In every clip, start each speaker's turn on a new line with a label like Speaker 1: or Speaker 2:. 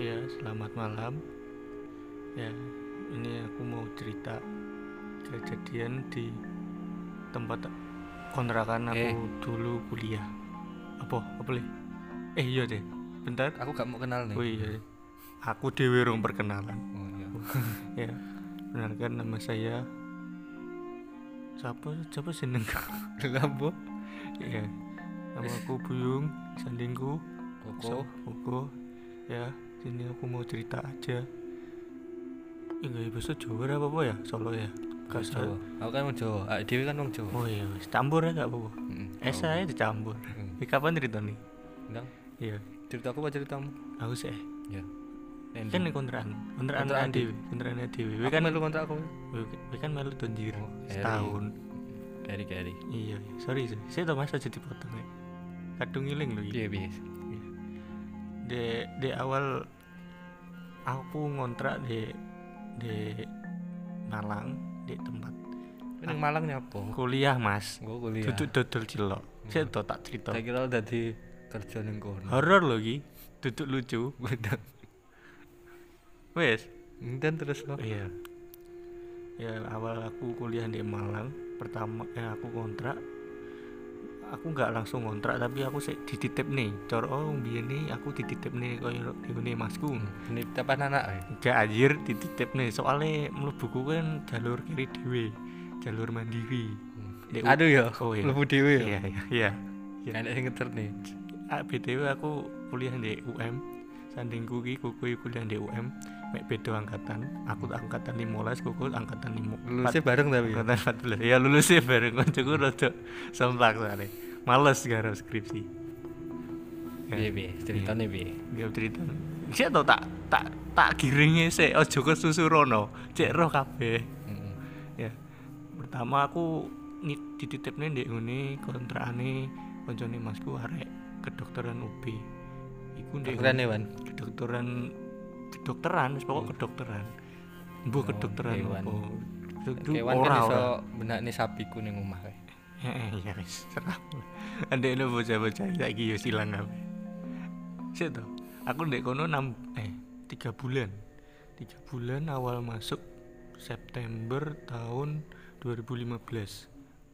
Speaker 1: Ya, Selamat malam. Ya, ini aku mau cerita kejadian di tempat kontrakan aku
Speaker 2: Eh.
Speaker 1: dulu kuliah. Apa? Apa Le? Eh iya deh. Bentar.
Speaker 2: Aku gak mau kenal nih.
Speaker 1: Oh iya. deh. Aku dewe rong perkenalan.
Speaker 2: Oh, iya.
Speaker 1: Ya. Benarkan nama saya Siapa siapa seneng
Speaker 2: Lha apa?
Speaker 1: ya nama aku Buyung sandingku
Speaker 2: Koko.
Speaker 1: Koko ya sini aku mau cerita aja enggak ya, bahasa Jawa apa apa ya Solo ya Gak
Speaker 2: Bahasa
Speaker 1: usah.
Speaker 2: Jawa. Aku kan wong Jawa. Ah, dhewe kan wong Jawa.
Speaker 1: oh iya wis campur ya gak apa-apa
Speaker 2: Heeh.
Speaker 1: eh saya dicampur
Speaker 2: Hmm.
Speaker 1: Ini kapan cerita nih
Speaker 2: Ndang,
Speaker 1: iya
Speaker 2: ceritaku apa ceritamu?
Speaker 1: aku sih eh.
Speaker 2: Ya.
Speaker 1: kan ini kontrakan kontrakan
Speaker 2: Kontrakan
Speaker 1: kontrakan dewi kontrakan dewi
Speaker 2: Aku
Speaker 1: kan
Speaker 2: melu kontrak aku.
Speaker 1: we kan melu donjir
Speaker 2: Oh, Eri.
Speaker 1: setahun
Speaker 2: Gari gari.
Speaker 1: iya iya. sorry sorry. saya tau masa jadi potong ya kadung ngiling loh
Speaker 2: Piye piye?
Speaker 1: di di awal aku ngontrak di di Malang di tempat
Speaker 2: Ning Malang nyapo?
Speaker 1: kuliah Hmm. mas
Speaker 2: Gua kuliah.
Speaker 1: duduk dodol cilok saya tau tak cerita
Speaker 2: Tak kira dadi kerja ning kono.
Speaker 1: horor loh ki duduk lucu
Speaker 2: Bener.
Speaker 1: wes
Speaker 2: Dan terus lo.
Speaker 1: iya ya awal aku kuliah di Malang pertama eh aku kontrak aku nggak langsung kontrak tapi aku sih dititip nih cor oh biar nih aku dititip nih kau di masku
Speaker 2: Hmm. Ini tepan anak ae.
Speaker 1: Gak anjir dititip nih soalnya mlebu ku kan jalur kiri dhewe, jalur mandiri. Nek-
Speaker 2: Hmm. Aduh ya.
Speaker 1: Oh, iya.
Speaker 2: Lebu dhewe
Speaker 1: Iya
Speaker 2: ya.
Speaker 1: iya iya. Iya.
Speaker 2: Kan sing ngeter nih.
Speaker 1: Ah, BTW aku kuliah di UM. Sandingku ki kuku kuliah di UM, mek beda angkatan. Aku angkatan 15, kuku angkatan 5.
Speaker 2: Lulusnya bareng tapi. ya?
Speaker 1: angkatan 14. Ya lulus sih bareng kancaku rada semplak soalnya. Males garap skripsi. Ya.
Speaker 2: Piye piye? Ceritane piye?
Speaker 1: Gak cerita. Cek tau tak tak tak giringe sik aja kesusurono. Cek roh kabeh.
Speaker 2: Heeh.
Speaker 1: ya pertama aku nit- dititipne ndek ngene kontrakane koncone masku arek kedokteran UB iku ndek
Speaker 2: Keren Wan.
Speaker 1: kedokteran kedokteran wis
Speaker 2: Iya.
Speaker 1: pokok kedokteran
Speaker 2: Oh,
Speaker 1: mbuh kedokteran
Speaker 2: kewan.
Speaker 1: apa Itu
Speaker 2: Kewan
Speaker 1: ora,
Speaker 2: kan
Speaker 1: ora.
Speaker 2: iso benakne sapiku ning omah kae.
Speaker 1: Heeh, ya wis serah. Andek lu bocah-bocah saiki yo silang kabeh. Sik to. Aku ndek kono 6 eh 3 bulan. 3 bulan awal masuk September tahun 2015.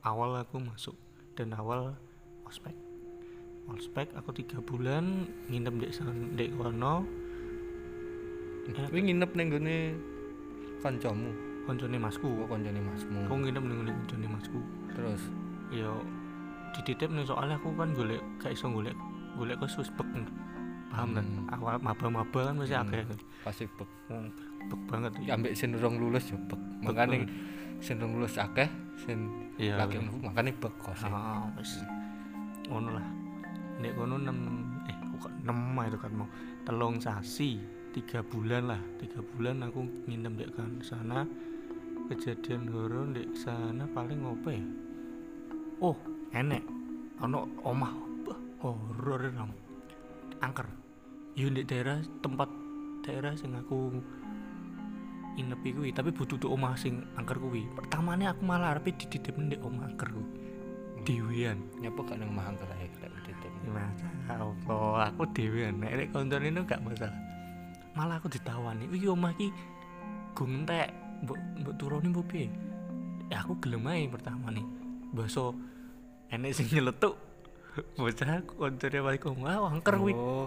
Speaker 1: Awal aku masuk dan awal ospek. Ospek aku 3 bulan nginep ndek san- ndek kono
Speaker 2: Kuwi nginep ning gone kancamu,
Speaker 1: koncone
Speaker 2: gua
Speaker 1: masku.
Speaker 2: kancane masmu.
Speaker 1: Aku nginep ning ngene koncone masku.
Speaker 2: Terus
Speaker 1: ya dititip nih soalnya aku kan golek gak iso golek golek kok suspek paham kan
Speaker 2: Hmm.
Speaker 1: awal maba-maba kan masih
Speaker 2: Hmm.
Speaker 1: akeh kan
Speaker 2: pasti bek.
Speaker 1: Wong, bek banget
Speaker 2: Ya, Ambek sing durung lulus yo bek. Makane sing durung lulus akeh, sing
Speaker 1: iya
Speaker 2: lagi makane bek kok. sih.
Speaker 1: ah wis ngono lah nek ngono 6 eh kok 6 itu kan mau telung sasi tiga bulan lah tiga bulan aku nginep di kan sana kejadian horor di sana paling ngopo ya oh enek ono omah bah, horor ram angker yo di daerah tempat daerah sing aku inep kuwi tapi butuh tuh omah sing angker kuwi pertamanya aku malah arepe dititip ndek omah angker kuwi dewean
Speaker 2: Nyapa gak ning omah angker ae lek dititip.
Speaker 1: Ya Allah, aku dhewe nek rek koncone itu gak masalah. Malah aku ditawani, "Iki omah iki go entek, mbok mbok turuni mbok piye?" Ya aku gelem ae pertama nih. Baso enek sing nyeletuk. Bocah koncone wae kok wah "Ah, angker kuwi.
Speaker 2: Oh,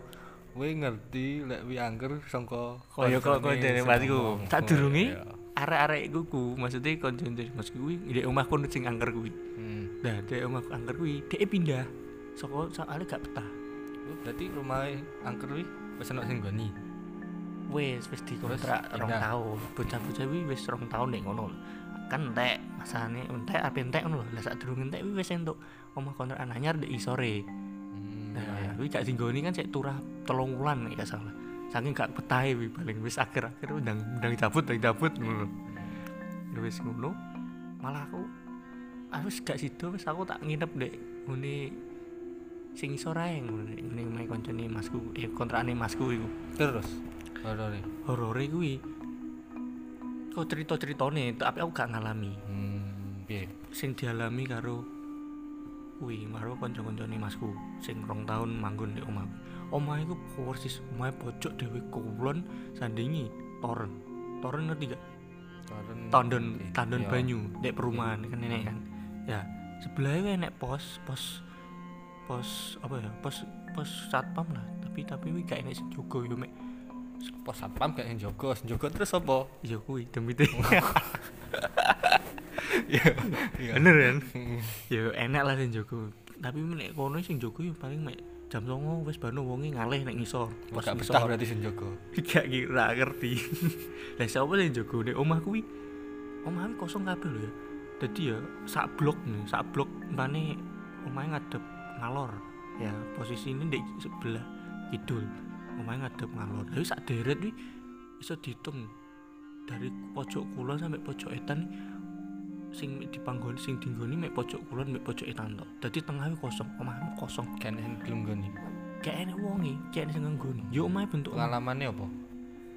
Speaker 2: Kowe ngerti lek wi angker sangka
Speaker 1: Kaya Oh, kok koncone masku. Tak durungi
Speaker 2: Iya.
Speaker 1: arek-arek kuku, maksudnya koncone masku kuwi ndek omah kono sing angker kuwi.
Speaker 2: Hmm.
Speaker 1: Nah, ndek omah angker kuwi, dhek pindah. Soko soalnya gak betah.
Speaker 2: Oh, Berarti rumah angker wi wis ana sing goni.
Speaker 1: wis wis dikontrak
Speaker 2: Terus
Speaker 1: rong
Speaker 2: pindah.
Speaker 1: tahun bocah-bocah wi wis rong tahun nek ngono lho. kan entek masane entek apa entek ngono lho lah sak durung entek wi wis entuk omah kontrak anyar ndek isore
Speaker 2: Hmm.
Speaker 1: nah wi gak dinggoni kan sik turah telung wulan nek gak salah saking gak petahe wi paling wis akhir-akhir ndang ndang cabut ndang cabut ngono ya wis ngono malah aku aku wis gak sido wis aku tak nginep ndek ngene sing isore ae ngono ngene omahe koncone masku eh kontrakane masku iku
Speaker 2: Terus horore.
Speaker 1: horore kuwi kok cerita-ceritane tapi aku gak ngalami
Speaker 2: Hmm, piye?
Speaker 1: sing dialami karo kuwi karo kanca-kancane masku sing rong tahun manggon di omah omahe ku persis omahe pojok dhewe kulon sandingi toren. Toren ngerti gak?
Speaker 2: Toren.
Speaker 1: Tandon
Speaker 2: Oke.
Speaker 1: tandon
Speaker 2: Iya.
Speaker 1: banyu nek perumahan kan nenek kan. Ya, sebelahnya enek pos, pos pos apa ya? Pos pos satpam lah. Tapi tapi wi gak enek sing jaga yo mek.
Speaker 2: Pos satpam gak yang jogo, jogo terus apa?
Speaker 1: Ya kuwi demi te.
Speaker 2: Iya.
Speaker 1: Bener kan? Ya enek lah sing jaga. Tapi nek kono sing jaga yo paling mek jam 09.00 wis bano wonge ngalih nek ngisor. Pos
Speaker 2: Gak
Speaker 1: ngisor.
Speaker 2: betah berarti sing jogo.
Speaker 1: gak kira ngerti lah siapa yang jago nih omah kuwi omah kuwi kosong kabeh lho ya jadi ya sak blok nih sak blok mana omah ngadep ngalor ya posisi ini di sebelah kidul omah ngadep ngalor lalu sak deret wi bisa dihitung dari pojok kulon sampai pojok etan nih, sing dipanggoni sing dinggoni mek pojok kulon mek pojok etan to dadi tengah kuwi kosong omah kosong
Speaker 2: Kan yang belum goni.
Speaker 1: gak enek wonge gak enek sing nggoni yo omahe bentuk
Speaker 2: Pengalamannya apa?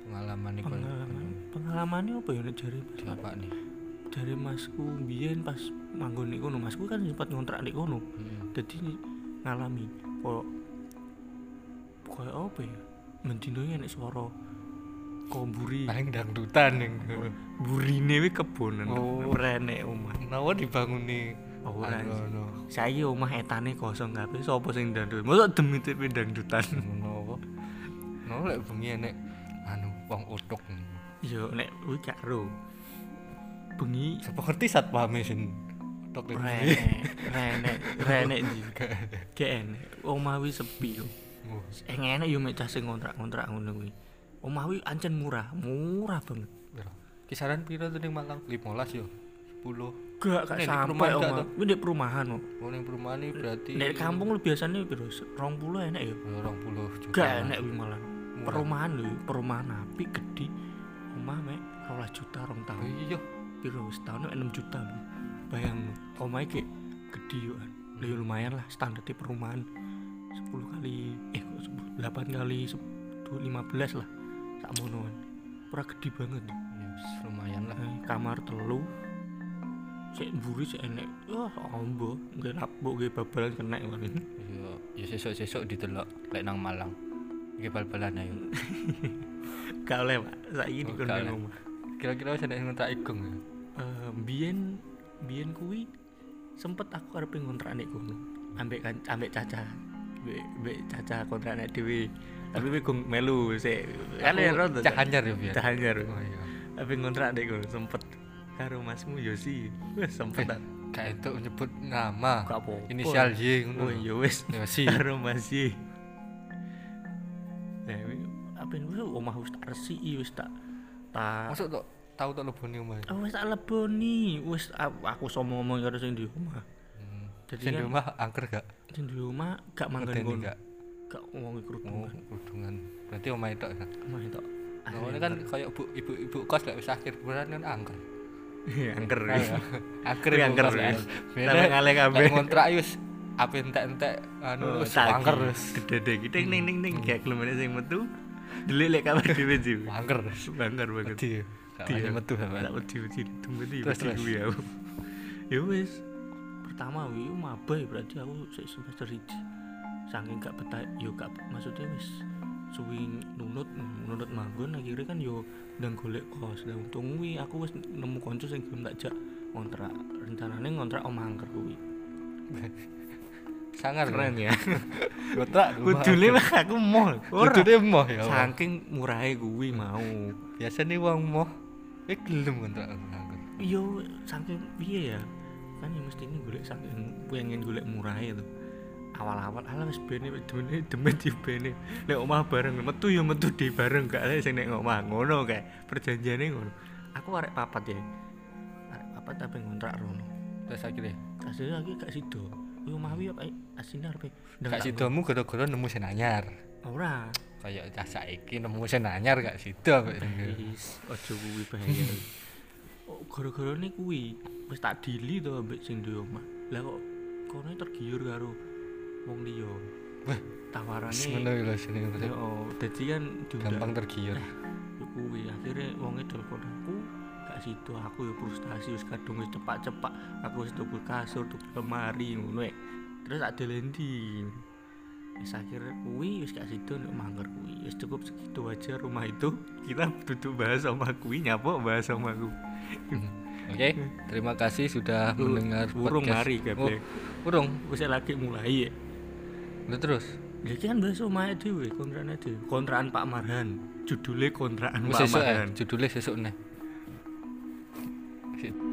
Speaker 2: Pengalamannya kau
Speaker 1: pengalaman pengalamannya apa ya nek jari
Speaker 2: di apa nih?
Speaker 1: dari masku biyen pas manggon di kono masku kan sempat ngontrak di kono
Speaker 2: Hmm.
Speaker 1: jadi ngalami kok kayak apa ya mendino ya nek suara komburi
Speaker 2: Paling dangdutan yang.
Speaker 1: burine we kebonan
Speaker 2: Oh.
Speaker 1: rene omah Oh,
Speaker 2: Nawa dibangun nih. Anu,
Speaker 1: Ora sih.
Speaker 2: no.
Speaker 1: saya omah etane kosong kabeh sapa sing dangdut mosok demi tipe dangdutan
Speaker 2: Nawa. Nawa anu lek bengi enek anu wong utuk.
Speaker 1: yo nek kuwi gak ro bengi
Speaker 2: Sapa ngerti satpame sing utuk ning
Speaker 1: rene
Speaker 2: bengi?
Speaker 1: rene rene iki gak enek omah wi sepi yo
Speaker 2: Oh,
Speaker 1: Eh enak yo mek sing kontrak-kontrak ngono kuwi. Omah kuwi ancen murah, murah banget.
Speaker 2: pira? Kisaran piro tuh ning Malang? 15 yo. 10.
Speaker 1: Gak gak
Speaker 2: Nek di
Speaker 1: sampai
Speaker 2: perumahan gak
Speaker 1: omah.
Speaker 2: tuh?
Speaker 1: Kuwi di perumahan kok.
Speaker 2: Oh ning perumahan ini berarti
Speaker 1: Nek kampung lu biasanya piro? Se- 20 enak yo.
Speaker 2: 20 juta.
Speaker 1: Gak enak kuwi malah.
Speaker 2: Murah.
Speaker 1: Perumahan lho, perumahan api gede. Omah mek 12 juta rong
Speaker 2: Oh,
Speaker 1: tahun.
Speaker 2: Iya.
Speaker 1: Piro setahun mek 6 juta. lho. Bayang omah iki gede yo. kan. Lah, yo lumayan lah standar di perumahan. 10 kali eh kok 10? 8 kali se- 15 lah. Sak monoan. Ora gede banget.
Speaker 2: Ya, wis, lumayan lah.
Speaker 1: Eh, kamar telu sik mburi sik enek wah ombo nggih lapuk nggih babalan kena ngene
Speaker 2: Yo, yo sesuk-sesuk ditelok lek nang Malang. Iki bal-balan ayo.
Speaker 1: gak oleh Pak saiki
Speaker 2: Oh,
Speaker 1: di
Speaker 2: gak
Speaker 1: kono
Speaker 2: oleh.
Speaker 1: omah
Speaker 2: Kira-kira wis enek sing ngontrak Igong ya.
Speaker 1: Eh, biyen biyen kuwi sempet aku arep ngontrak nek kono ambek kan ambek Caca ambek ambek Caca kontrak nek dhewe tapi kowe gong melu sik kan
Speaker 2: Aku
Speaker 1: ya ro
Speaker 2: cah anyar yo biyen.
Speaker 1: cahanyar
Speaker 2: Oh iya.
Speaker 1: tapi ngontrak nek kono sempet karo masmu Yosi wes sempet
Speaker 2: Eh.
Speaker 1: tak
Speaker 2: Gak entuk nyebut nama.
Speaker 1: Gak apa-apa.
Speaker 2: Inisial Y
Speaker 1: Oh
Speaker 2: ngono.
Speaker 1: ya wis
Speaker 2: Ya sih.
Speaker 1: karo masih nah ini apa ini wis omah wis tak resiki wis tak tak
Speaker 2: Masuk tok tahu tok lebone omah.
Speaker 1: oh, wis tak leboni wis aku, aku sama ngomong karo sing di omah
Speaker 2: Hmm.
Speaker 1: Jadi
Speaker 2: Sing di
Speaker 1: kan-
Speaker 2: omah angker gak?
Speaker 1: sing di omah gak manggon
Speaker 2: Ngedeni
Speaker 1: kono
Speaker 2: gak?
Speaker 1: gak ngomong
Speaker 2: Oh,
Speaker 1: kerudungan
Speaker 2: kudungan. Berarti omah itu kan.
Speaker 1: omah itu
Speaker 2: Awalnya kan kayak bu, ibu-ibu kos lek wis akhir bulan kan angker.
Speaker 1: angker
Speaker 2: Ayo, Angker
Speaker 1: Wih,
Speaker 2: ibu
Speaker 1: angker,
Speaker 2: kos,
Speaker 1: wih.
Speaker 2: kan. Beda,
Speaker 1: Sampai ngalih kabeh.
Speaker 2: lek ngontrak yus ape entek-entek anu
Speaker 1: Oh,
Speaker 2: wis
Speaker 1: saking
Speaker 2: angker wis.
Speaker 1: gedede iki ting ning ning ning gak kelemene sing metu delik lek kabar dhewe jiwe
Speaker 2: Angker.
Speaker 1: banggar banget
Speaker 2: Wedi. Gak
Speaker 1: Wedi,
Speaker 2: wani
Speaker 1: ya.
Speaker 2: metu sampean.
Speaker 1: Tak wedi-wedi dumedi
Speaker 2: Terus,
Speaker 1: wedi
Speaker 2: terus.
Speaker 1: kuwi aku. Ya wis. Pertama wi maba ya, berarti aku sik semester 1. Saking gak betah yo gak maksudnya wis suwi nunut nunut manggon akhirnya kan yo ndang golek kos. Lah untung wi aku wis nemu kanca sing gelem tak jak kontrak. Rencanane ngontrak omah angker kuwi.
Speaker 2: Sangar.
Speaker 1: Keren ya.
Speaker 2: Ngontrak rumah
Speaker 1: Kudune
Speaker 2: angker.
Speaker 1: mah aku mall. Ora.
Speaker 2: Kudune moh ya. Allah.
Speaker 1: Saking murahe kuwi mau.
Speaker 2: Biasanya wong moh eh gelem ngontrak rumah angker.
Speaker 1: yo Iya, saking piye ya kan ya mesti ini golek saking pengen golek murah itu awal-awal ala wis bene wis demene demen di bene nek omah bareng metu ya metu di bareng gak ada sing nek omah ngono kae perjanjiane ngono aku arek papat ya arek papat tapi ngontrak rono
Speaker 2: Terus akhirnya
Speaker 1: hasilnya lagi gak sido kuwi omah kuwi apa asine arepe
Speaker 2: gak sidomu gara-gara nemu senanyar.
Speaker 1: ora
Speaker 2: Kayak cah saiki nemu senanyar gak sido kok.
Speaker 1: Wis, aja kuwi bahaya. Oh, gara-gara ini kuwi wis tak dili to ambek sing duwe omah. Lah kok kono e tergiur karo wong liya.
Speaker 2: Wah, Wis ngono
Speaker 1: Tawarane
Speaker 2: ya lho sini.
Speaker 1: Ya, oh, dadi kan diundang
Speaker 2: Gampang tergiur.
Speaker 1: Ya kuwi akhirnya wonge telepon aku gak sido aku ya frustasi wis kadung wis cepak-cepak aku wis tuku kasur tuku lemari ngono ya. terus tak dilendi wis akhir kuwi wis gak sido nek mangker kuwi wis cukup segitu aja rumah itu kita duduk bahas sama kuwi nyapok bahas sama aku
Speaker 2: Oke, terima kasih sudah
Speaker 1: Lu-
Speaker 2: mendengar
Speaker 1: burung
Speaker 2: podcast.
Speaker 1: mari
Speaker 2: Oh,
Speaker 1: kabeh
Speaker 2: burung.
Speaker 1: wis lagi mulai ya
Speaker 2: Udah terus.
Speaker 1: Ya iki kan bahas omahe dhewe, kontrakan dhewe. Kontrakan Pak Marhan. Judulnya kontrakan
Speaker 2: Wis
Speaker 1: Pak
Speaker 2: sesuk eh,
Speaker 1: Marhan.
Speaker 2: judulnya sesuk nih. Si-